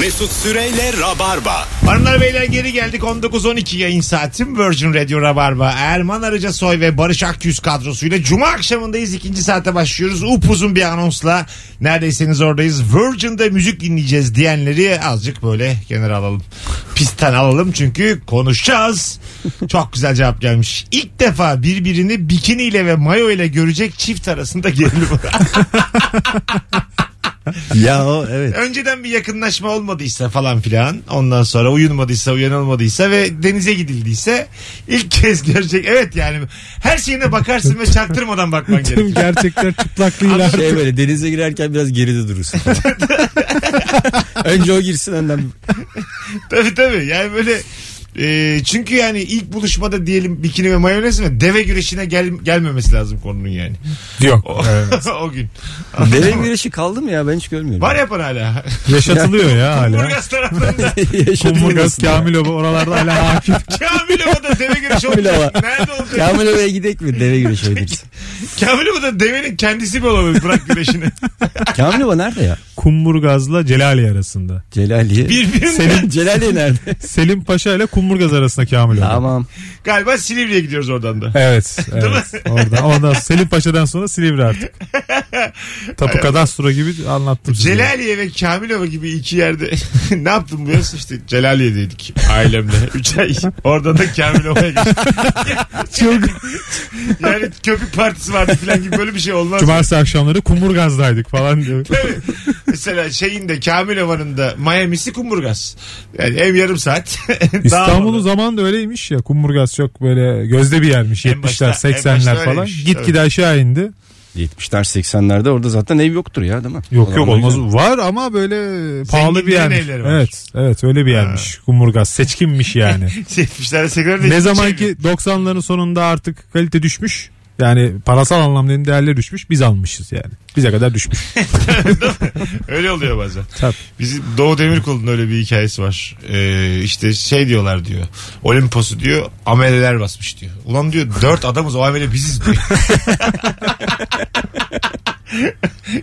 Mesut Süreyle Rabarba. Hanımlar beyler geri geldik 19.12 yayın saatim Virgin Radio Rabarba. Erman Arıca Soy ve Barış Akyüz kadrosuyla Cuma akşamındayız ikinci saate başlıyoruz. Upuzun bir anonsla neredeyseniz oradayız. Virgin'de müzik dinleyeceğiz diyenleri azıcık böyle kenara alalım. Pistten alalım çünkü konuşacağız. Çok güzel cevap gelmiş. İlk defa birbirini bikiniyle ve mayo ile görecek çift arasında gerilim. ya o evet. Önceden bir yakınlaşma olmadıysa falan filan ondan sonra uyunmadıysa uyanılmadıysa ve denize gidildiyse ilk kez görecek. Evet yani her şeyine bakarsın ve çaktırmadan bakman Tüm gerekiyor. gerçekler çıplaklığıyla. Şey böyle denize girerken biraz geride durursun. Önce o girsin önden. tabii tabii yani böyle e, çünkü yani ilk buluşmada diyelim bikini ve mayonez mi deve güreşine gel, gelmemesi lazım konunun yani. Yok. O, o gün. Deve güreşi kaldı mı ya ben hiç görmüyorum. Var yapan hala. Yaşatılıyor ya hala. Burgaz taraflarında Yaşadın Kumburgaz, diyorsun ya. Kamilova oralarda hala hakim. Kamilova'da deve güreşi Kamil olacak. Ova. Nerede olacak? Kamil Bey'e gidek mi? Deve güreşi oynarız. Kamilova'da devenin kendisi mi olamıyor bırak güreşini? Kamil Baba nerede ya? Kumburgaz'la Celali arasında. Celaliye. Birbirine Selim Celaliye nerede? Selim Paşa ile Kumburgaz arasında Kamilova. tamam. Galiba Silivri'ye gidiyoruz oradan da. Evet. evet. Orada. Ondan sonra Selim Paşa'dan sonra Silivri artık. Tapu kadastro gibi anlattım size. Celaliye ve Kamilova gibi iki yerde ne yaptım bu yaz? İşte Celaliye'deydik ailemle. Üç ay. Oradan da Kamilova'ya geçtik. yani köpük partisi vardı falan gibi böyle bir şey olmaz. Cumartesi akşamları Kumburgaz'daydık falan diyor. Tabii. Mesela şeyin de Kamilova'nın da Miami'si Kumburgaz. Yani ev yarım saat. İstanbul'un zamanı da öyleymiş ya. Kumburgaz çok böyle gözde bir yermiş. En 70'ler, başta- en 80'ler başta falan. öyleymiş, Gitgide aşağı indi. 70'ler 80'lerde orada zaten ev yoktur ya değil mi? Yok Adam yok o olmaz. yüzden- Var ama böyle pahalı bir Zenginlerin yermiş. evleri var. Evet, evet öyle bir yermiş. Kumburgaz seçkinmiş yani. 70'lerde 80'lerde. ne zaman ki 90'ların sonunda artık kalite düşmüş. Yani parasal anlamda değerleri düşmüş. Biz almışız yani. Bize kadar düşmüş. Öyle oluyor bazen. Tabii. Bizim Doğu Demirkol'un öyle bir hikayesi var. Ee, işte şey diyorlar diyor. Olimpos'u diyor ameleler basmış diyor. Ulan diyor dört adamız o amele biziz diyor.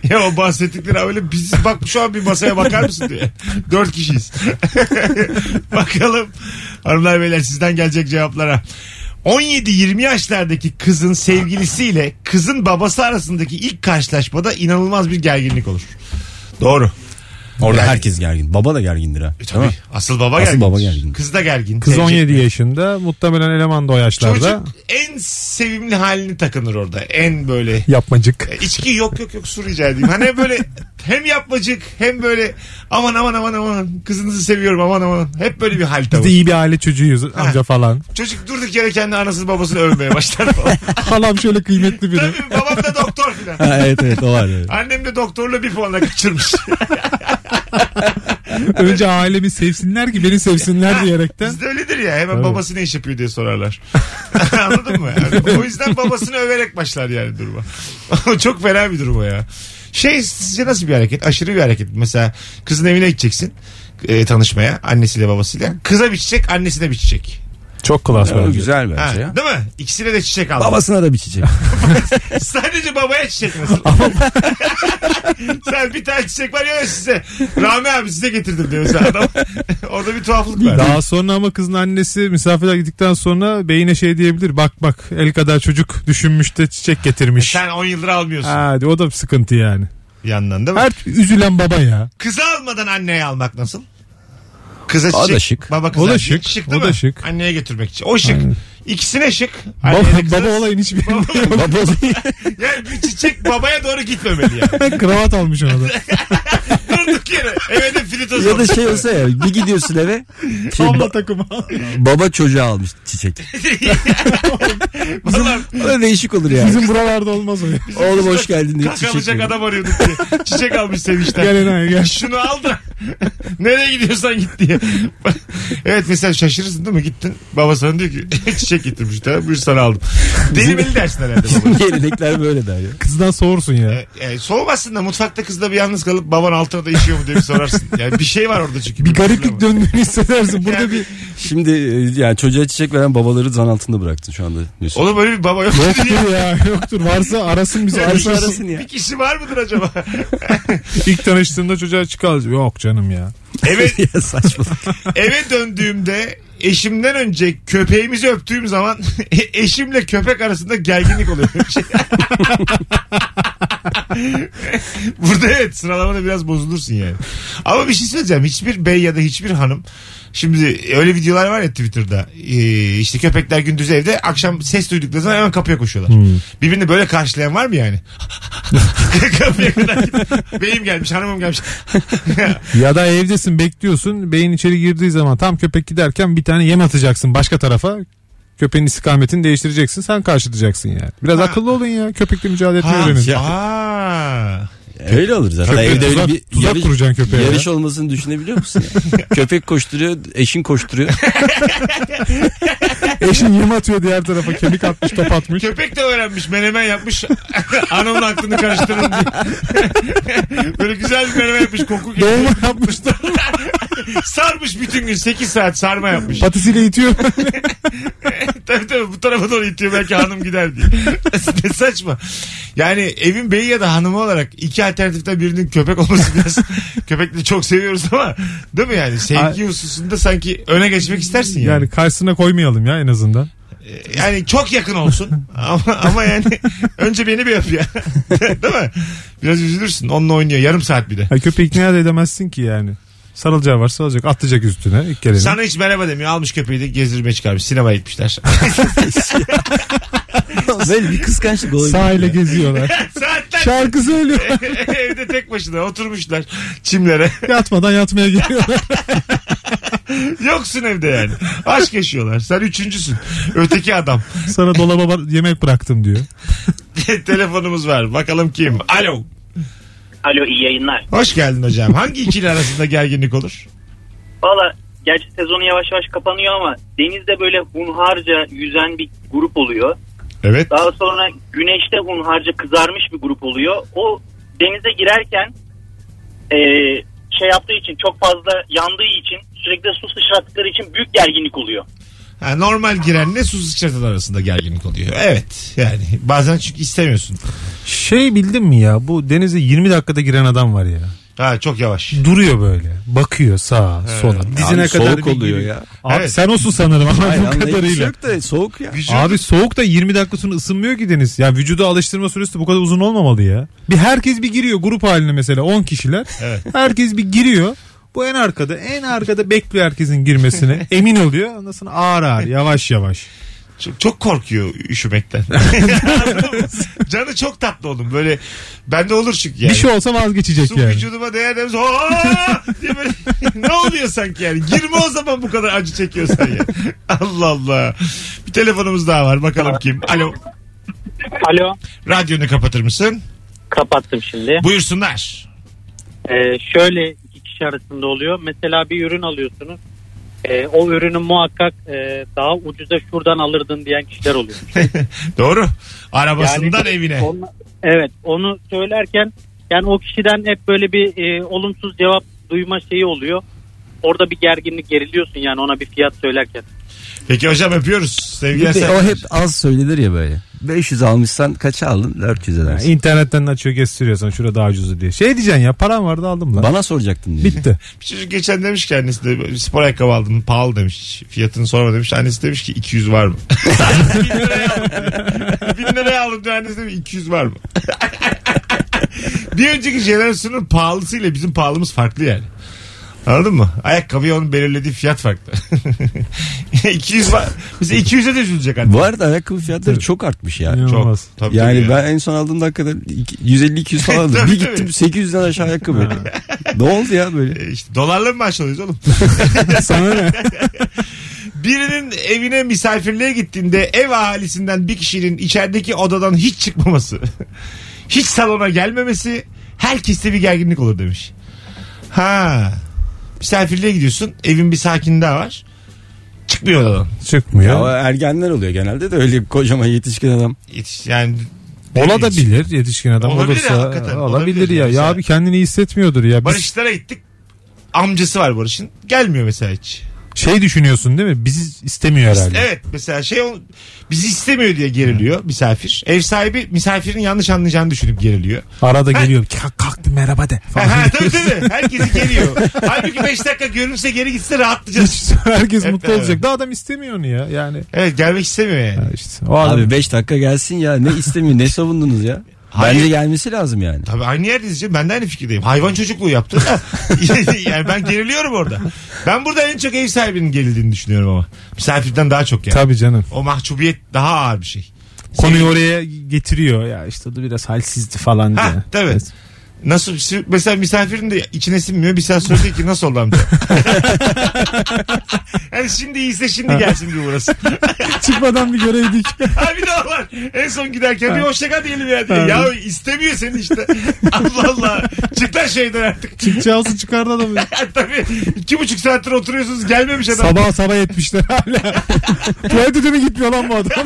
ya o bahsettikleri amele biziz. Bak şu an bir masaya bakar mısın diyor. Dört kişiyiz. Bakalım hanımlar beyler sizden gelecek cevaplara. 17-20 yaşlardaki kızın sevgilisiyle kızın babası arasındaki ilk karşılaşmada inanılmaz bir gerginlik olur. Doğru. Orada Yani- herkes gergin. Baba da gergindir ha. E, Değil Tabii. mi? Asıl baba Asıl gergin. baba gergin. Kız da gergin. Kız Sevecek. 17 yaşında. Muhtemelen eleman da o yaşlarda. Çocuk en sevimli halini takınır orada. En böyle Yapmacık. E, içki yok yok yok su rica edeyim. Hani böyle hem yapmacık hem böyle aman aman aman aman kızınızı seviyorum aman aman. Hep böyle bir hal Biz tavır. de iyi bir aile çocuğuyuz amca falan. Çocuk durduk yere kendi anasını babasını övmeye başlar falan. Halam şöyle kıymetli biri. Tabii babam da doktor filan. Ha, evet evet o var. evet. Annem de doktorla bir puanla kaçırmış. Önce ailemi sevsinler ki beni sevsinler diyerekten. Bizde öyledir ya hemen Tabii. babası ne iş yapıyor diye sorarlar. Anladın mı? Yani o yüzden babasını överek başlar yani duruma. O Çok fena bir durum o ya. Şey sizce nasıl bir hareket? Aşırı bir hareket. Mesela kızın evine gideceksin e, tanışmaya annesiyle babasıyla. Kıza bir çiçek annesine bir çiçek. Çok klas Ya, o bence. güzel Ha, bence ya. Değil mi? İkisine de çiçek aldı. Babasına da biçecek. Sadece babaya çiçek nasıl? Sen bir tane çiçek var ya size. Rami abi size getirdim diyor mesela adam. Orada bir tuhaflık var. Daha sonra ama kızın annesi misafirler gittikten sonra beyine şey diyebilir. Bak bak el kadar çocuk düşünmüş de çiçek getirmiş. E Sen 10 yıldır almıyorsun Ha, o da bir sıkıntı yani. bir yandan değil mi? Her üzülen baba ya. Kızı almadan anneye almak nasıl? Kıza O çiçek. da şık. Baba kıza. O da şık. değil O da mi? şık. Anneye götürmek için. O şık. İkisine şık. Anneye de Baba, kıza- baba olayın hiçbir Baba- Baba yani bir çiçek babaya doğru gitmemeli yani. kravat almış ona da. Durduk yere. Eve de filitos ya da olmuş. şey olsa ya bir gidiyorsun eve şey, Bomba ba- takımı baba çocuğa almış çiçek. Vallahi Öyle değişik olur yani. Bizim buralarda olmaz o ya. Oğlum hoş geldin diye Kalk alacak çiçek. adam arıyorduk diye. Çiçek almış sevinçten. Gel Enay gel. Şunu al da nereye gidiyorsan git diye. evet mesela şaşırırsın değil mi? Gittin baba sana diyor ki çiçek getirmiş. Tamam buyur sana aldım. Deli beli dersin herhalde baba. Gelenekler böyle der ya. Kızdan soğursun ya. E, e, soğumazsın da mutfakta kızla bir yalnız kalıp baban altına da işiyor mu diye bir sorarsın. Yani bir şey var orada çünkü. Bir gariplik döndüğünü hissedersin. Burada Yani- bir Şimdi e, yani çocuğa çiçek veren babaları zan altında bıraktın şu anda. Mesut. Oğlum öyle bir baba yok. yoktur ya yoktur. Varsa arasın bizi. Bir Arasın. arasın ya. bir kişi var mıdır acaba? İlk tanıştığında çocuğa çıkar. Yok canım ya. Eve, ya saçmalık. eve döndüğümde eşimden önce köpeğimizi öptüğüm zaman eşimle köpek arasında gerginlik oluyor. Burada evet sıralamada biraz bozulursun yani. Ama bir şey söyleyeceğim. Hiçbir bey ya da hiçbir hanım Şimdi öyle videolar var ya Twitter'da. Ee, işte köpekler gündüz evde akşam ses duydukları zaman hemen kapıya koşuyorlar. Birbirini böyle karşılayan var mı yani? kapıya kadar. Beyim gelmiş, hanımım gelmiş. Ya da evdesin bekliyorsun. Beyin içeri girdiği zaman tam köpek giderken bir tane yem atacaksın başka tarafa. Köpeğin istikametini değiştireceksin. Sen karşılayacaksın yani. Biraz akıllı olun ya. Köpekle mücadele etmeyi Ha, öğrenin. aa. Öyle olur zaten. Köpeğe Evde tuzak- öyle bir tuzak yarış, kuracaksın köpeğe yarış ya. olmasını düşünebiliyor musun? ya? Köpek koşturuyor, eşin koşturuyor. Eşin yem atıyor diğer tarafa. Kemik atmış top atmış. Köpek de öğrenmiş menemen yapmış. Anamın aklını karıştırın diye. Böyle güzel bir menemen yapmış koku gibi. Dolma yapmış da Sarmış bütün gün 8 saat sarma yapmış. patisiyle itiyor. tabii tabii bu tarafa doğru itiyor belki hanım gider diye. ne saçma. Yani evin beyi ya da hanımı olarak iki alternatiften birinin köpek olması biraz köpekleri çok seviyoruz ama değil mi yani sevgi hususunda sanki öne geçmek istersin yani. yani Yani, karşısına koymayalım ya en azından. çok yakın olsun ama, ama yani önce beni bir öp ya. değil mi? Biraz üzülürsün onunla oynuyor yarım saat bir de. Ya köpeği ikna da edemezsin ki yani. Sarılacağı var sarılacak. Atlayacak üstüne ilk kere. Sana hiç merhaba demiyor. Almış köpeği de gezdirmeye çıkarmış. Sinemaya gitmişler. Böyle bir kıskançlık olabilir. Sahile geziyorlar. Saatler Şarkı söylüyor. evde tek başına oturmuşlar çimlere. Yatmadan yatmaya geliyorlar. Yoksun evde yani. Aşk yaşıyorlar. Sen üçüncüsün. Öteki adam. Sana dolaba bar- yemek bıraktım diyor. Telefonumuz var. Bakalım kim? Alo. Alo iyi yayınlar. Hoş geldin hocam. Hangi ikili arasında gerginlik olur? Valla gerçi sezonu yavaş yavaş kapanıyor ama denizde böyle hunharca yüzen bir grup oluyor. Evet. Daha sonra güneşte hunharca kızarmış bir grup oluyor. O denize girerken eee, şey yaptığı için çok fazla yandığı için sürekli su sıçrattıkları için büyük gerginlik oluyor. Ha, normal girenle su sıçratan arasında gerginlik oluyor. Evet. Yani bazen çünkü istemiyorsun. Şey bildin mi ya bu denize 20 dakikada giren adam var ya. Ha çok yavaş. Duruyor böyle. Bakıyor sağa sola. Dizine Abi kadar soğuk bir oluyor giriyor. ya. Abi Evet. sen olsun sanırım Hayır, anladığım anlayıp bir şey kadarıyla. yok da şey- soğuk ya. Vücut- Abi soğuk da 20 dakika sonra ısınmıyor ki deniz. Ya vücuda alıştırma süresi de bu kadar uzun olmamalı ya. Bir herkes bir giriyor grup haline mesela 10 kişiler. Evet. Herkes bir giriyor. Bu en arkada en arkada bekliyor herkesin girmesine. Emin oluyor. Ondan sonra ağır ağır yavaş yavaş. Çok, çok korkuyor üşümekten. Anladın mı? Canı çok tatlı oğlum. Böyle bende olur çünkü yani. Bir şey olsa vazgeçecek Su yani. vücuduma değer demiş. "Aa!" diye böyle ne oluyor sanki yani? Girme o zaman bu kadar acı çekiyorsan ya. Allah Allah. Bir telefonumuz daha var. Bakalım kim? Alo. Alo Radyonu kapatır mısın? kapattım şimdi. Buyursunlar. Ee, şöyle iki kişi arasında oluyor. Mesela bir ürün alıyorsunuz. Ee, o ürünü muhakkak e, daha ucuza şuradan alırdın diyen kişiler oluyor. Doğru. Arabasından Yani- evine. Onla- evet onu söylerken yani o kişiden hep böyle bir e, olumsuz cevap duyma şeyi oluyor. Orada bir gerginlik geriliyorsun yani ona bir fiyat söylerken. Peki hocam öpüyoruz. Bir Sevgiler de o sen. hep az söylenir ya böyle. 500 almışsan kaça aldın? 400 Yani edersin. internetten açıyor gösteriyor sana şurada daha ucuzu diye. Şey diyeceksin ya param vardı aldım lan. Bana soracaktın diye. Bitti. Bir çocuk geçen demiş ki annesi de spor ayakkabı aldım pahalı demiş. Fiyatını sorma demiş. Annesi demiş ki 200 var mı? Bin liraya aldım. Bin liraya aldım diyor. Annesi demiş 200 var mı? bir önceki jenerasyonun pahalısıyla bizim pahalımız farklı yani. Anladın mı? Ayakkabıya onun belirlediği fiyat farklı. 200 var. Mesela 200'e de üzülecek anne. Bu arada ayakkabı fiyatları çok artmış yani. Çok. İnanılmaz. Tabii Yani tabii ya. ben en son aldığımda hakikaten iki- 150-200 falandı. Tabii, bir gittim tabii. 800'den aşağı ayakkabı. ne oldu ya böyle? E İşte dolarla mı maaş alıyoruz oğlum? Sana ne? Birinin evine misafirliğe gittiğinde ev ahalisinden bir kişinin içerideki odadan hiç çıkmaması. hiç salona gelmemesi herkeste bir gerginlik olur demiş. Ha. Misafirliğe gidiyorsun. Evin bir sakini daha var. Çıkmıyor odadan. Ya o Çıkmıyor. ergenler oluyor genelde de öyle kocaman yetişkin adam. Yetiş, yani Ola da bilir yetişkin adam Olabilir ya, olursa. hakikaten. olabilir, Olabilir ya. yani. Ya abi kendini iyi hissetmiyordur ya. Biz- Barışlara gittik. Amcası var Barış'ın. Gelmiyor mesela hiç. Şey düşünüyorsun değil mi? Bizi istemiyor herhalde. Evet mesela şey o- bizi istemiyor diye geriliyor misafir. Ev sahibi misafirin yanlış anlayacağını düşünüp geriliyor. Arada geliyor. Kalk, kalk bir merhaba de. falan. Ha, tabii tabii herkesi geliyor. Halbuki 5 dakika görünse geri gitse rahatlayacağız. Herkes Evet, mutlu evet. olacak. Da adam istemiyor onu ya. Yani Evet gelmek istemiyor yani. Ha işte. O adam Abi 5 dakika gelsin ya. Ne istemiyor ne savundunuz ya. Hayır. Bence gelmesi lazım yani. Tabii aynı yerdeyiz canım. Ben de aynı fikirdeyim. Hayvan çocukluğu yaptı da. yani ben geriliyorum orada. Ben burada en çok ev sahibinin gerildiğini düşünüyorum ama. Misafirden daha çok yani. tabii canım. O mahcubiyet daha ağır bir şey. Konuyu oraya getiriyor ya işte da biraz halsizdi falan diye. Ha tabii. Nasıl şey? mesela misafirin de içine sinmiyor bir saat sonra diyor ki nasıl oldu amca? yani şimdi iyiyse şimdi gelsin diyor burası. Çıkmadan bir göreydik. Ha bir daha var. En son giderken bir hoşça kal diyelim ya diyor. Ya istemiyor seni işte. Allah Allah. Çık lan şeyden artık. Çıkacağısı çıkardı adamı. Tabii iki buçuk saattir oturuyorsunuz gelmemiş adam. sabah sabah yetmişler hala. Tuvalete de mi gitmiyor lan bu adam?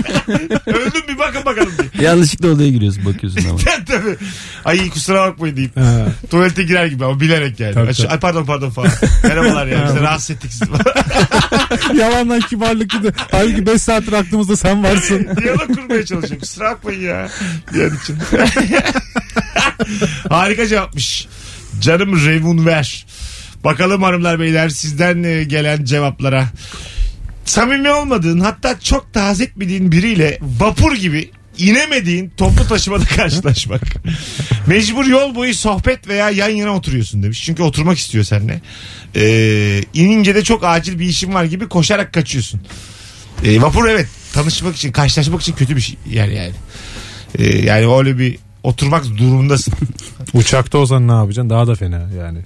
Öldüm bir bakın bakalım diye. Yanlışlıkla odaya giriyorsun bakıyorsun ama. Tabii. Ay kusura bakmayın deyip. Ha. Tuvalete girer gibi ama bilerek yani. Tabii, Ay, tabii. Ay, pardon pardon falan. Merhabalar ya. Bizi rahatsız ettik sizi. Yalandan kibarlık gibi. Halbuki 5 saattir aklımızda sen varsın. Diyalog kurmaya çalışıyorum. Kusura bakmayın ya. Diyen için. Harika cevapmış. Canım Revun ver. Bakalım hanımlar beyler sizden e, gelen cevaplara. Samimi olmadığın hatta çok da haz etmediğin biriyle vapur gibi inemediğin toplu taşımada karşılaşmak. Mecbur yol boyu sohbet veya yan yana oturuyorsun demiş. Çünkü oturmak istiyor seninle. Ee, inince de çok acil bir işin var gibi koşarak kaçıyorsun. E, vapur evet tanışmak için karşılaşmak için kötü bir şey yer yani. E, yani öyle bir oturmak durumundasın. Uçakta olsan ne yapacaksın? Daha da fena yani.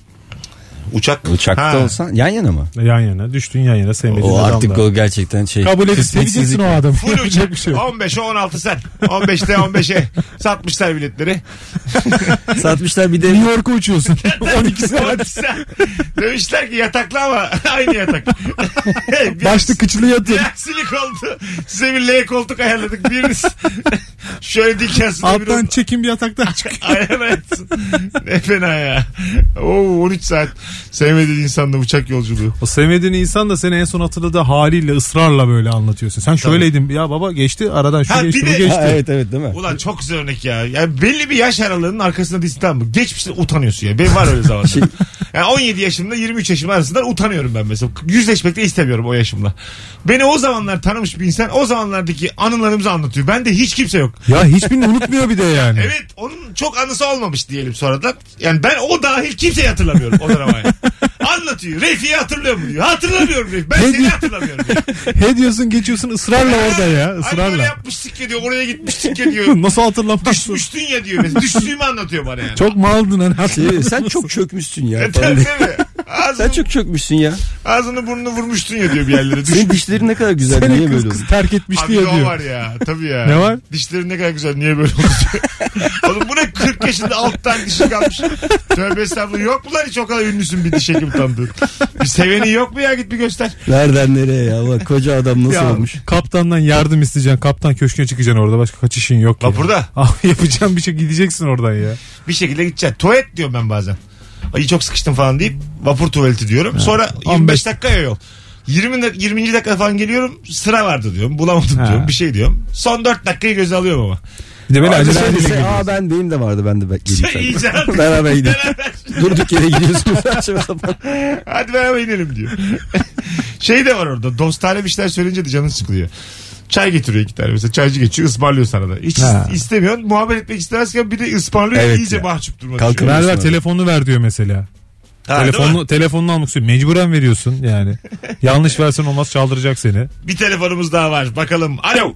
Uçak. Uçakta Ha. olsan yan yana mı? Yan yana düştün yan yana sevmediğin O adamla. artık o gerçekten şey. Kabul edip kısmetsizlik. seveceksin o adamı. Full uçak. Yapacak bir şey yok. 15'e 16 sen. 15'te 15'e satmışlar biletleri. Satmışlar bir de New York'a uçuyorsun. 12 saat. 16 sen. Demişler ki yataklı ama aynı yatak. Bir- Başlı kıçlı bir yatın. aksilik oldu. Size bir L koltuk ayarladık. Biriniz şöyle dikensiz. Alttan çekim bir yataktan çık. evet. Ne fena ya. Oo, 13 saat sevmediğin insanla uçak yolculuğu. O sevmediğin insan da seni en son hatırladığı haliyle ısrarla böyle anlatıyorsun. Sen şöyleydin ya baba geçti aradan şu Ha, geçti bir bu de- geçti. Ha, evet evet değil mi? Ulan çok güzel örnek ya. Yani belli bir yaş aralığının arkasında değilsin tamam mı? Geçmişte utanıyorsun ya. Benim var öyle zamanlar. Yani 17 yaşımda 23 yaşım arasında utanıyorum ben mesela. Yüzleşmek de istemiyorum o yaşımla. Beni o zamanlar tanımış bir insan o zamanlardaki anılarımızı anlatıyor. Bende hiç kimse yok. Ya hiçbirini unutmuyor bir de yani. Evet onun çok anısı olmamış diyelim sonradan. Yani ben o dahil kimseyi hatırlamıyorum o dramaya. Anlatıyor. Refi'yi hatırlıyor mu diyor. Hatırlamıyorum Refi. Ben Ne seni diyor? hatırlamıyorum diyor. He diyorsun geçiyorsun ısrarla orada ya Ay böyle ısrarla. yapmıştık ya diyor. Oraya gitmiştik ya diyor. Nasıl hatırlamazsın? Düşmüştün ya diyor. Mesela düştüğümü anlatıyor bana yani. Çok maldın hani. Şey, sen çok çökmüşsün ya. E, falan tabii diye. tabii. sen Ağzını, çok çökmüşsün ya. ağzını burnunu vurmuştun ya diyor bir yerlere. Düş. Senin dişlerin ne kadar güzel. Seni niye kız böyle kız oldu? terk etmiş Abi diye o var diyor. ya tabii ya. Ne var? Dişlerin ne kadar güzel niye böyle oldu diyor. Oğlum bu ne 40 yaşında alt tane dişi kalmış. Tövbe estağfurullah yok mu lan hiç o kadar ünlüsün bir diş hekimi tanıdığın. Bir seveni yok mu ya git bir göster. Nereden nereye ya? Bak koca adam nasıl Ya, olmuş? kaptandan yardım isteyeceksin. Kaptan köşküne çıkacaksın orada. Başka kaçışın yok. ya. Vapurda. Abi yapacağım bir şey gideceksin oradan ya. Bir şekilde gideceksin. Tuvalet diyorum ben bazen. Ay çok sıkıştım falan deyip vapur tuvaleti diyorum. Sonra 25 15 dakika ya yol. 20 dak- 20. dakika falan geliyorum. Sıra vardı diyorum. Bulamadım Ha. diyorum. Bir şey diyorum. Son 4 dakikayı göze alıyorum ama. Bir de böyle Abi acele sen acele de- gidiyorsun. Aa ben benim de vardı ben de İyi bekleyeceğim. canım. Beraber gidelim. Durduk yere gidiyorsunuz saçma sapan. Hadi beraber inelim diyor. şey de var orada. Dostane bir şeyler söyleyince de canın sıkılıyor. Çay getiriyor iki tane mesela. Çaycı geçiyor ısmarlıyor sana da. Hiç Ha. istemiyorsun. Muhabbet etmek istemezken bir de ısmarlıyor. Evet iyice ya. mahcup durma Kalkın. düşüyor. Ver Biliyorsun ver abi. telefonunu ver diyor mesela. Ha, değil mi? telefonunu, telefonunu almak istiyor. Mecburen veriyorsun yani. Yanlış versen olmaz çaldıracak seni. Bir telefonumuz daha var. Bakalım. Alo.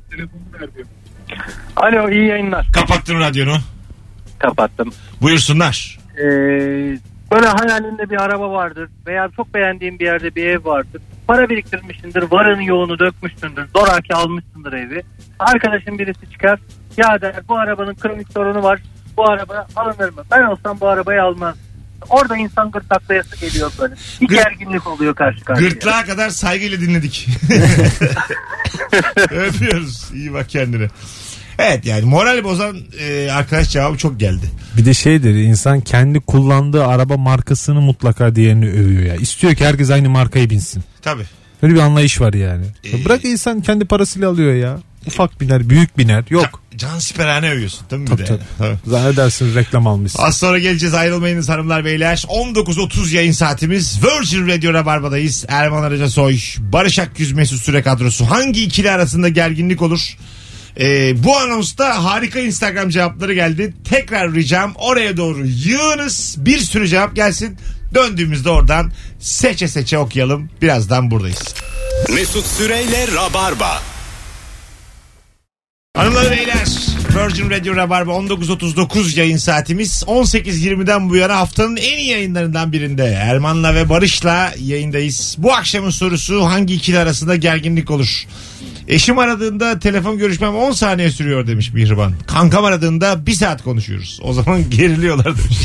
Alo iyi yayınlar. Kapattın radyonu. Kapattım. Buyursunlar. Ee, böyle hayalinde bir araba vardır veya çok beğendiğin bir yerde bir ev vardır. Para biriktirmişsindir, varın yoğunu dökmüşsündür, zoraki almışsındır evi. Arkadaşın birisi çıkar, ya der bu arabanın kronik sorunu var, bu araba alınır mı? Ben olsam bu arabayı almaz. Orada insan gırtlaklayası geliyor böyle. Bir Gırt- gerginlik oluyor karşı karşıya. Gırtlağa kadar saygıyla dinledik. Öpüyoruz. İyi bak kendine. Evet yani moral bozan e, arkadaş cevabı çok geldi. Bir de şeydir insan kendi kullandığı araba markasını mutlaka diğerini övüyor ya. İstiyor ki herkes aynı markayı binsin. Tabii. Böyle bir anlayış var yani. Ya Bırak insan kendi parasıyla alıyor ya. Ufak biner, büyük biner. Yok. Can siperhane övüyorsun değil mi? bir Tabii de? tabii. Tabii. Zannedersin reklam almışsın. Az sonra geleceğiz ayrılmayınız hanımlar beyler. 19.30 yayın saatimiz Virgin Radio Rabarba'dayız. Erman Araca Soy, Barış Akgüz Mesut Süre kadrosu. Hangi ikili arasında gerginlik olur? Ee, bu anonsta harika Instagram cevapları geldi. Tekrar ricam oraya doğru yığınız. Bir sürü cevap gelsin. Döndüğümüzde oradan seçe seçe okuyalım. Birazdan buradayız. Mesut Süreyle Rabarba. Hanımlar beyler Virgin Radio Rabarba 19.39 yayın saatimiz 18.20'den bu yana haftanın en iyi yayınlarından birinde Erman'la ve Barış'la yayındayız. Bu akşamın sorusu hangi ikili arasında gerginlik olur? Eşim aradığında telefon görüşmem 10 saniye sürüyor demiş Mihriban. Kankam aradığında 1 saat konuşuyoruz. O zaman geriliyorlar demiş.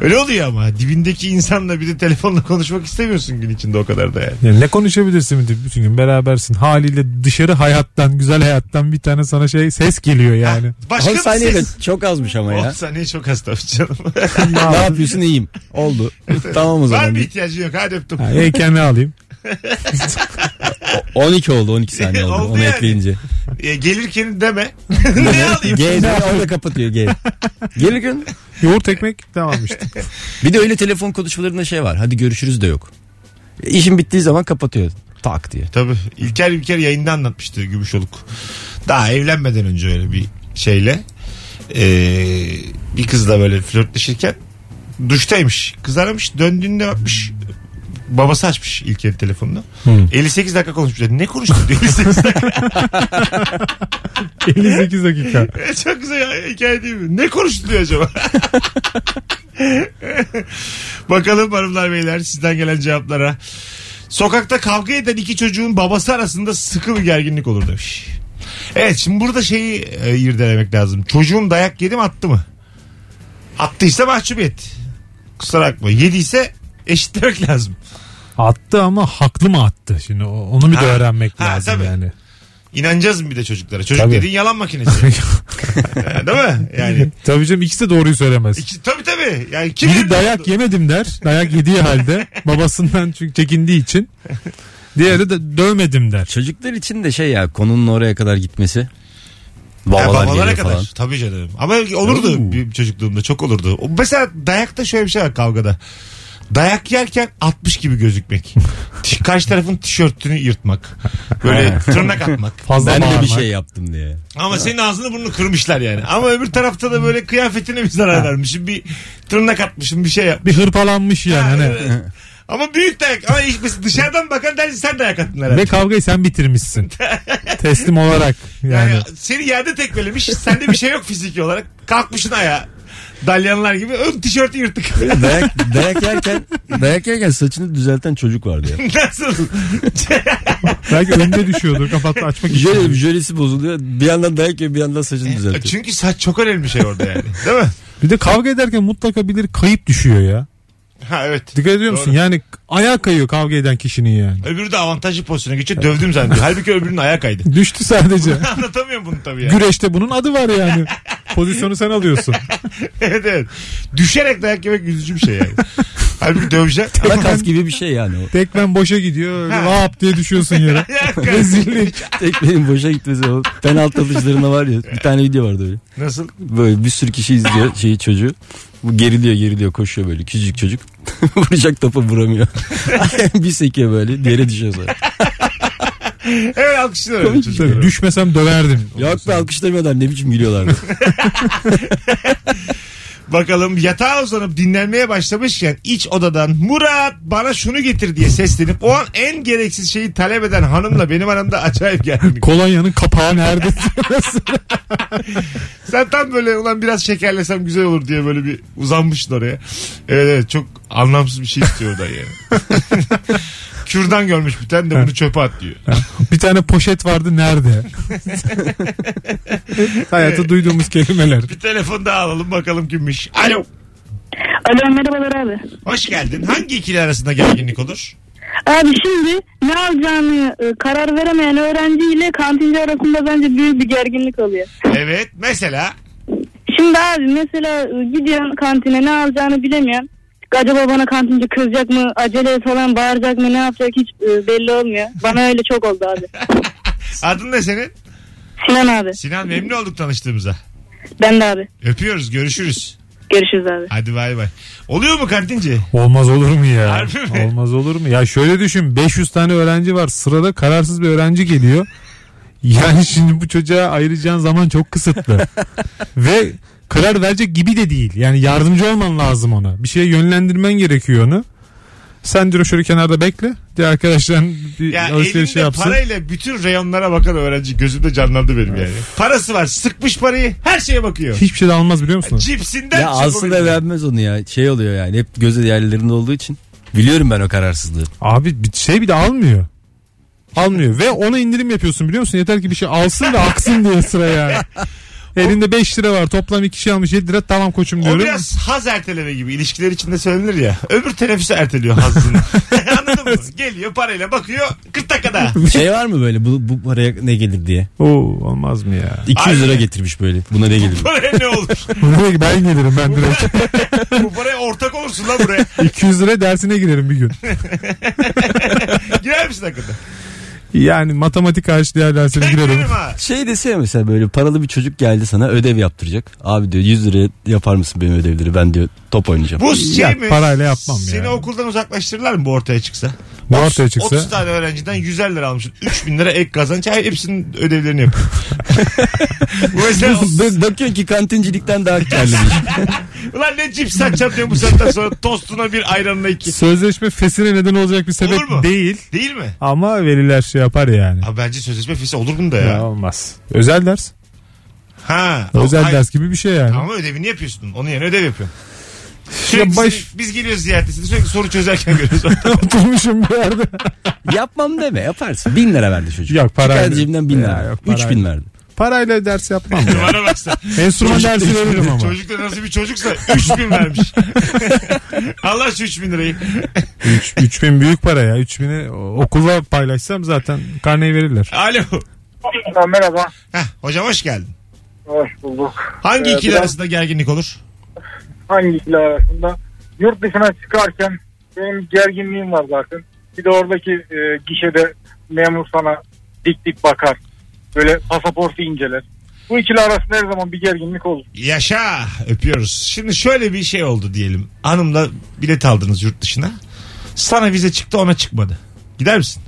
Öyle oluyor ama dibindeki insanla bir de telefonla konuşmak istemiyorsun gün içinde o kadar da yani. Yani ne konuşabilirsin bir de bütün gün berabersin. Haliyle dışarı hayattan, güzel hayattan bir tane sana şey ses geliyor yani. Başka 10 bir saniye de ses. çok azmış ama 10 ya. saniye çok az tabii canım. ne yapıyorsun iyiyim. Oldu. tamam o Var zaman. mı ihtiyacın yok? Hadi öptüm. Ha, heykelini alayım. 12 oldu 12 saniye oldu, Oldu onu yani. ekleyince. E, gelirken deme. ne alayım? G diye orada kapatıyor G. Gelirken Yoğurt ekmek tamam işte. bir de öyle telefon konuşmalarında şey var. Hadi görüşürüz de yok. İşin bittiği zaman kapatıyor. Tak diye. Tabii. İlker İlker yayında anlatmıştı Gümüşoluk. Daha evlenmeden önce öyle bir şeyle. Ee, bir kızla böyle flörtleşirken duştaymış. Kız aramış. Döndüğünde bakmış. Babası açmış İlker'in telefonunu. 58 dakika konuşmuş. Ne konuştu diyor 58 dakika. 58 dakika. Çok güzel hikaye değil mi? Ne konuştu diyor acaba? Bakalım hanımlar beyler sizden gelen cevaplara. Sokakta kavga eden iki çocuğun babası arasında sıkı bir gerginlik olur demiş. Evet şimdi burada şeyi e, irdelemek lazım. Çocuğum dayak yedi mi attı mı? Attıysa mahcubiyet. Kusura bakma. Yediyse eşitlemek lazım. Attı ama haklı mı attı? Şimdi o- onu bir de Ha. öğrenmek Ha, lazım tabii. yani. İnanacağız mı bir de çocuklara? Çocuk Tabii. dediğin yalan makinesi. Değil mi? Yani. Tabii canım ikisi de doğruyu söylemez. İki, tabii tabii. Yani kim Biri bilir- dayak yemedim der. Dayak yediği halde babasından çünkü çekindiği için. Diğeri de dövmedim der. Çocuklar için de şey ya konunun oraya kadar gitmesi. Ya Babalar babalara geliyor kadar. falan. Tabii canım. Ama olurdu Oo. bir çocukluğumda çok olurdu. O- Mesela dayakta şöyle bir şey var kavgada. Dayak yerken 60 gibi gözükmek. Ti- Karşı tarafın tişörtünü yırtmak. Böyle tırnak atmak. Fazla Ben de bağırmak. bir şey yaptım diye. Ama senin ağzını burnunu kırmışlar yani. Ama öbür tarafta da böyle kıyafetine bir zarar vermişim. Bir tırnak atmışım bir şey yap. Bir hırpalanmış yani. hani. Evet. Ama büyük dayak. Ama hiç- dışarıdan bakan dersin sen dayak attın herhalde. Ve kavgayı sen bitirmişsin. Teslim olarak yani. Yani, seni yerde tekmelemiş. Sende bir şey yok fiziki olarak. Kalkmışsın ayağa. Dalyanlar gibi. Ön tişörtü yırtık. Dayak, dayak yerken dayak yerken saçını düzelten çocuk vardı ya. Nasıl? Belki önde düşüyordur kapattı açmak Jöle, için. jölesi bozuluyor. Bir yandan dayak yiyor bir yandan saçını düzeltiyor. Çünkü saç çok önemli bir şey orada yani. Değil mi? Bir de kavga ederken mutlaka bilir kayıp düşüyor ya. Ha evet. Dikkat ediyor musun? Doğru. Yani ayağı kayıyor kavga eden kişinin yani. Öbürü de avantajlı pozisyona geçiyor. Dövdüm zannediyor. Halbuki öbürünün ayağı kaydı. Düştü sadece. Anlatamıyorum bunu tabii yani. Güreşte bunun adı var yani. Pozisyonu sen alıyorsun. evet evet. Düşerek dayak yemek üzücü bir şey yani. Halbuki döveceksin. Takas gibi bir şey yani o. Tekmen boşa gidiyor. öyle Vap diye düşüyorsun yere. Rezillik. Tekmenin boşa gitmesi o. Penaltı atışlarında var ya. Bir tane video vardı öyle. Nasıl? Böyle bir sürü kişi izliyor şeyi çocuğu. Bu geriliyor geriliyor koşuyor böyle küçücük çocuk. Vuracak topu vuramıyor. bir sekiyor böyle diğeri düşüyor sonra. Evet alkışlıyorum. öyle Tabii, çocukları. düşmesem döverdim. Yok be alkışlamıyorlar ne biçim gülüyorlardı. Bakalım yatağa uzanıp dinlenmeye başlamışken iç odadan Murat bana şunu getir diye seslenip o an en gereksiz şeyi talep eden hanımla benim aramda acayip gerginlik. Kolonyanın kapağı nerede? Sen tam böyle ulan biraz şekerlesem güzel olur diye böyle bir uzanmışsın oraya. Evet evet çok anlamsız bir şey istiyor da yani. Kürdan görmüş bir tane de bunu çöpe at diyor. bir tane poşet vardı nerede? Hayatı duyduğumuz kelimeler. Bir telefon daha alalım bakalım kimmiş. Alo. Alo merhabalar abi. Hoş geldin. Hangi ikili arasında gerginlik olur? Abi şimdi ne alacağını e, karar veremeyen öğrenci ile kantinci arasında bence büyük bir gerginlik oluyor. Evet mesela Şimdi abi mesela e, gidiyorsun kantine ne alacağını bilemiyorsun. acaba bana kantinci kızacak mı acele falan bağıracak mı ne yapacak hiç e, belli olmuyor. Bana öyle çok oldu abi. Adın ne senin? Sinan abi. Sinan memnun olduk tanıştığımıza. Ben de abi. Öpüyoruz görüşürüz. Görüşürüz abi. Hadi bay bay. Oluyor mu kantinci? Olmaz olur mu ya? Harbi mi? Olmaz olur mu? Ya şöyle düşün 500 tane öğrenci var sırada kararsız bir öğrenci geliyor. Yani şimdi bu çocuğa ayıracağın zaman çok kısıtlı. Ve karar verecek gibi de değil. Yani yardımcı olman lazım ona. Bir şeye yönlendirmen gerekiyor onu. Sen diyor şöyle kenarda bekle. Diğer arkadaşların bir Ya elinde alışveriş yapsın. parayla bütün reyonlara bakan öğrenci gözümde canlandı benim yani. Parası var sıkmış parayı her şeye bakıyor. Hiçbir şey de almaz biliyor musun? Cipsinden ya aslında vermez onu ya. Şey oluyor yani hep gözü yerlerinde olduğu için. Biliyorum ben o kararsızlığı. Abi bir şey bir de almıyor. Almıyor ve ona indirim yapıyorsun biliyor musun? Yeter ki bir şey alsın da aksın diye sıra yani. Elinde 5 lira var toplam 2 şey almış 7 lira tamam koçum O diyorum. biraz haz erteleme gibi ilişkiler içinde söylenir ya. Öbür teneffüsü erteliyor hazını. Anladın mı? Geliyor parayla bakıyor 40 dakikada. Şey var mı böyle bu, bu paraya ne gelir diye. Oo, olmaz mı ya? 200 lira Aynen. getirmiş böyle. Buna ne gelir? Paraya ne olur? ben gelirim ben direkt. Bu paraya ortak olursun lan buraya. 200 lira dersine girerim bir gün. Girer misin hakikaten? Yani matematik karşı diğer dersine Ben girerim. girerim ha. Şey dese ya mesela böyle paralı bir çocuk geldi sana ödev yaptıracak. Abi diyor 100 liraya yapar mısın benim ödevleri ben diyor top oynayacağım. Bu şey Ya, mi? parayla yapmam Seni ya. okuldan uzaklaştırırlar mı bu ortaya çıksa? Bu Otuz- ortaya çıksa? 30 tane öğrenciden 100'er lira almışsın. 3000 lira ek kazanç. Hayır hepsinin ödevlerini yapıyor. bu mesela Bak- Bakıyor ki kantincilikten daha karlı bir iş. ulan ne cips satacağım diyor bu saatten sonra tostuna bir ayranına iki. Sözleşme fesine neden olacak bir sebep Olur mu? değil. Değil mi? Ama veliler şey yapar yani. Abi bence sözleşme fesi olur bunda Ya. ya. olmaz. Özel ders. Ha. Özel Hayır. ders gibi bir şey yani. Ama ödevini yapıyorsun. Onun yerine ödev yapıyorsun. Sürekli baş- Şey, seni- biz geliyoruz ziyaretesine sürekli soru çözerken görüyoruz. Oturmuşum bir yerde. Yapmam deme yaparsın. 1000 lira verdi çocuk. Yok, parayla. Çıkar cebimden 1000 Ya, lira. yok, parayla. 3000 verdi. Parayla ders yapmam ya. Bana baksana. Enstrüman dersi veririm ama. Çocuk da nasıl bir çocuksa 3000 vermiş. Allah şu 3000 lirayı. 3000 büyük para ya. 3000'i okula paylaşsam zaten karneyi verirler. Alo. Merhaba. Heh, hocam hoş geldin. Hoş bulduk. Hangi Ee, ikili biraz- arasında gerginlik olur? Hangi ikili arasında? Yurt dışına çıkarken benim gerginliğim var zaten. Bir de oradaki e, gişede memur sana dik dik bakar. Böyle pasaportu inceler. Bu ikili arasında her zaman bir gerginlik olur. Yaşa öpüyoruz. Şimdi şöyle bir şey oldu diyelim. Hanımla bilet aldınız yurt dışına. Sana vize çıktı ona çıkmadı. Gider misin?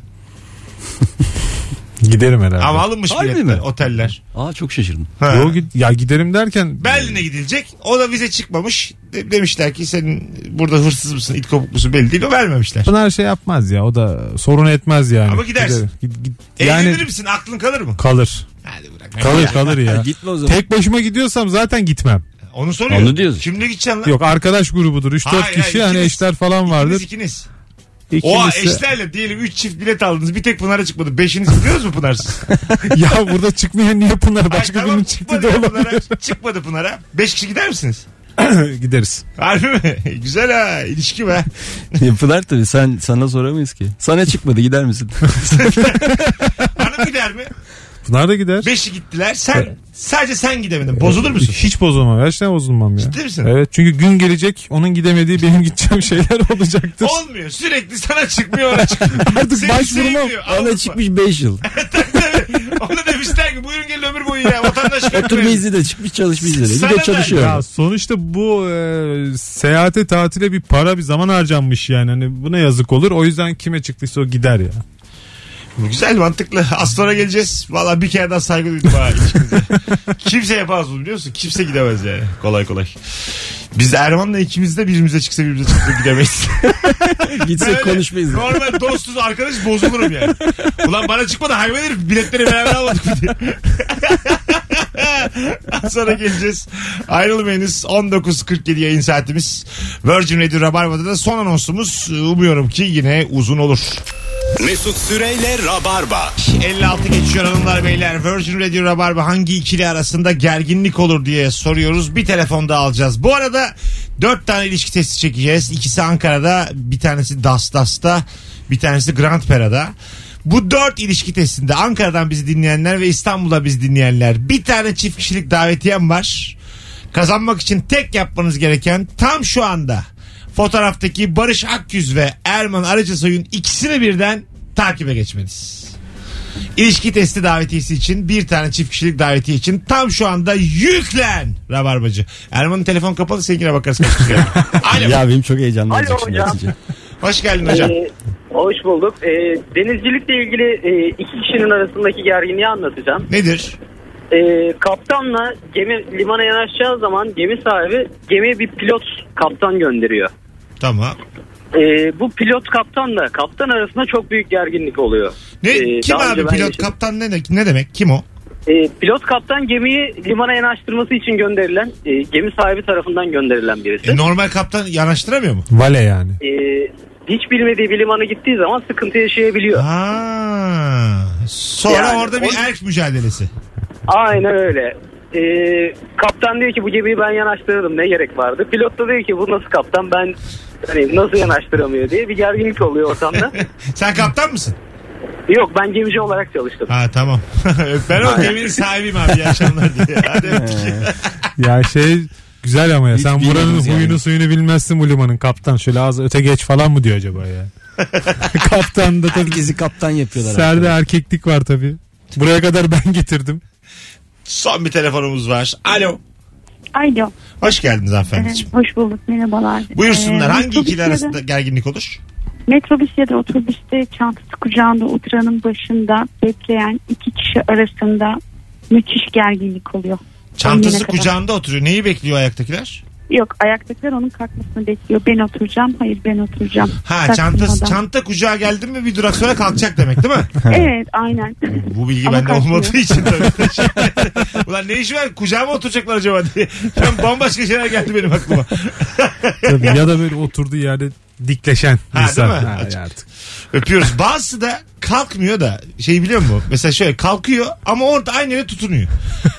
Giderim herhalde. Ama alınmış Harbi biletler, mi? oteller. Aa çok şaşırdım. Ha. Yo, git- ya giderim derken Berlin'e gidilecek. O da vize çıkmamış. De- demişler ki senin burada hırsız mısın, it kopuk musun belli değil. O vermemişler. Pınar şey yapmaz ya. O da sorun etmez yani. Ama gidersin. Giderim. Git- git- Yani... yani E, Eğlenir misin? Aklın kalır mı? kalır. Hadi bırak. Kalır kalır ya. Gitme o zaman. Tek başıma gidiyorsam zaten gitmem. Onu soruyor. Onu diyoruz. Kimle gideceksin lan? Yok arkadaş grubudur. 3-4 Hayır, hayır, kişi hani ikiniz- eşler falan İkiniz vardır. ikiniz. Oha İkimiz eşlerle diyelim 3 çift bilet aldınız. Bir tek Pınar'a çıkmadı. Beşiniz gidiyoruz mu Pınarsız? ya burada çıkmayan niye Pınar? Başka Ay, tamam, birinin çıktı da çıkmadı ya olabilir. Pınar'a. Çıkmadı Pınar'a. Beş kişi gider misiniz? Gideriz. Harbi mi? Güzel ha. ilişki be. Yapılar tabii sen sana soramayız ki. Sana çıkmadı gider misin? Hanım gider mi? Pınar da gider. Beşi gittiler. Sen sadece sen gidemedin. Bozulur musun? Hiç bozulmam. Her şeyden bozulmam ya. Ciddi misin? Evet çünkü gün gelecek onun gidemediği benim gideceğim şeyler olacaktır. Olmuyor. Sürekli sana çıkmıyor ona çıkmıyor. Artık Seni başvurmam. sevmiyor. Avrupa. Ona çıkmış 5 yıl. Ona demişler ki buyurun gelin ömür boyu ya. Vatandaş Oturma bekliyor. izni de çıkmış çalışma izni de. Sana Bir da- de Ya çalışıyor. sonuçta bu e, seyahate tatile bir para bir zaman harcanmış yani. Hani buna yazık olur. O yüzden kime çıktıysa o gider ya. Güzel mantıklı. Az sonra geleceğiz. Valla bir kere daha saygı duydum ha. ilişkinize. Kimse yapamaz bunu biliyor musun? Kimse gidemez yani. Kolay kolay. Biz Erman'la ikimiz de birimize çıksa birbirimize çıksa gidemeyiz. Ben Gitsek öyle konuşmayız. Normal dostuz arkadaş bozulurum yani. Ulan bana çıkmadı hayvan herif biletleri beraber almadık mı diye. Az sonra geleceğiz. Ayrılmayınız. 19.47 yayın saatimiz. Virgin Radio Rabarba'da da son anonsumuz. Umuyorum ki yine uzun olur. Mesut Süreyle Rabarba. 56 geçiyor hanımlar beyler. Virgin Radio Rabarba hangi ikili arasında gerginlik olur diye soruyoruz. Bir telefonda alacağız. Bu arada 4 tane ilişki testi çekeceğiz. İkisi Ankara'da, bir tanesi Das Das'ta, bir tanesi Grand Pera'da. Bu dört ilişki testinde Ankara'dan bizi dinleyenler ve İstanbul'da bizi dinleyenler bir tane çift kişilik davetiyem var. Kazanmak için tek yapmanız gereken tam şu anda fotoğraftaki Barış Akyüz ve Erman Arıcısoy'un ikisini birden takibe geçmeniz. İlişki testi davetiyesi için bir tane çift kişilik davetiye için tam şu anda yüklen Rabarbacı. Erman'ın telefon kapalı seninkine bakarız. kaç kişi geldi. Alo. Ya benim çok heyecanlı Alo olacak şimdi hocam. Hatice. Hoş geldin hocam. Ee, hoş bulduk. Ee, denizcilikle ilgili e, iki kişinin arasındaki gerginliği anlatacağım. Nedir? Ee, kaptanla gemi limana yanaşacağı zaman gemi sahibi gemiye bir pilot kaptan gönderiyor. Tamam. Ee, bu pilot kaptanla kaptan arasında çok büyük gerginlik oluyor. Ne Ee, kim daha abi önce ben pilot yaşadım. kaptan ne, de- ne demek? Kim o? Ee, pilot kaptan gemiyi limana yanaştırması için gönderilen, e, gemi sahibi tarafından gönderilen birisi. E, normal kaptan yanaştıramıyor mu? Vale yani. Ee, hiç bilmediği bir limana gittiği zaman sıkıntı yaşayabiliyor. Ha. Sonra Yani orada bir o- erk mücadelesi. Aynen öyle. Ee, kaptan diyor ki bu gemiyi ben yanaştırırım ne gerek vardı. Pilot da diyor ki bu nasıl kaptan ben hani nasıl yanaştıramıyor diye bir gerginlik oluyor ortamda. Sen kaptan mısın? Yok ben gemici olarak çalıştım. Ha tamam. ben o geminin sahibiyim abi. İyi akşamlar diye. Hadi öptük. Ya şey güzel ama ya Hiç sen buranın bilmiyoruz yani. huyunu suyunu bilmezsin bu limanın kaptan. Şöyle az öte geç falan mı diyor acaba ya? kaptan da tabii Herkesi kaptan yapıyorlar. serde erkeklik var tabii. Buraya kadar ben getirdim. Son bir telefonumuz var. Alo. Alo. Hoş geldiniz Ee, hanımefendiciğim. hoş bulduk. Merhabalar. Buyursunlar. Ee, hangi metrobüs ikili ya da- arasında gerginlik olur? Metrobüs ya da otobüste çantası kucağında oturanın başında bekleyen iki kişi arasında müthiş gerginlik oluyor. Çantası Önüne kadar. kucağında oturuyor. Neyi bekliyor ayaktakiler? Yok ayaktakiler onun kalkmasını bekliyor. Ben oturacağım. Hayır ben oturacağım. Ha Takılmadan. çantası, çanta kucağa geldi mi bir durak sonra kalkacak demek değil mi? Evet aynen. Bu bilgi Ama bende kalkmıyor. olmadığı için tabii. Ulan ne işi var kucağıma oturacaklar acaba diye. Ben bambaşka şeyler geldi benim aklıma. Tabii. ya da böyle oturduğu yerde dikleşen Ha, insan. değil mi? Ha, Açık. artık. Öpüyoruz. Bazısı da kalkmıyor da şey biliyor musun? Mesela şöyle kalkıyor ama orada aynı yere tutunuyor.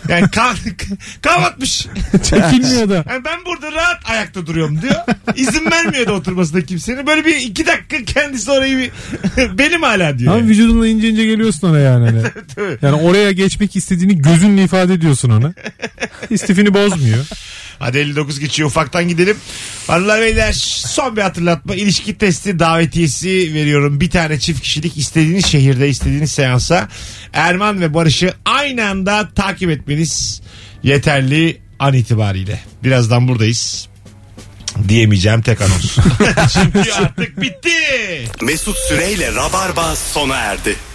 Yani kalk, kalkmış. Çekilmiyor da. Yani ben burada rahat ayakta duruyorum diyor. İzin vermiyor da oturmasına kimsenin. Böyle bir iki dakika kendisi orayı bir, benim hala diyor. Ama yani. vücudunla ince ince geliyorsun oraya yani. Hani. tabii. yani oraya geçmek istediğini gözünle ifade ediyorsun ona. İstifini bozmuyor. Hadi 59 geçiyor ufaktan gidelim. Hanımlar beyler son bir hatırlatma. İlişki testi davetiyesi veriyorum. Bir tane çift kişilik istediğiniz şehirde istediğiniz seansa Erman ve Barış'ı aynı anda takip etmeniz yeterli an itibariyle. Birazdan buradayız. Diyemeyeceğim tek anons. Çünkü artık bitti. Mesut Süreyle Rabarba sona erdi.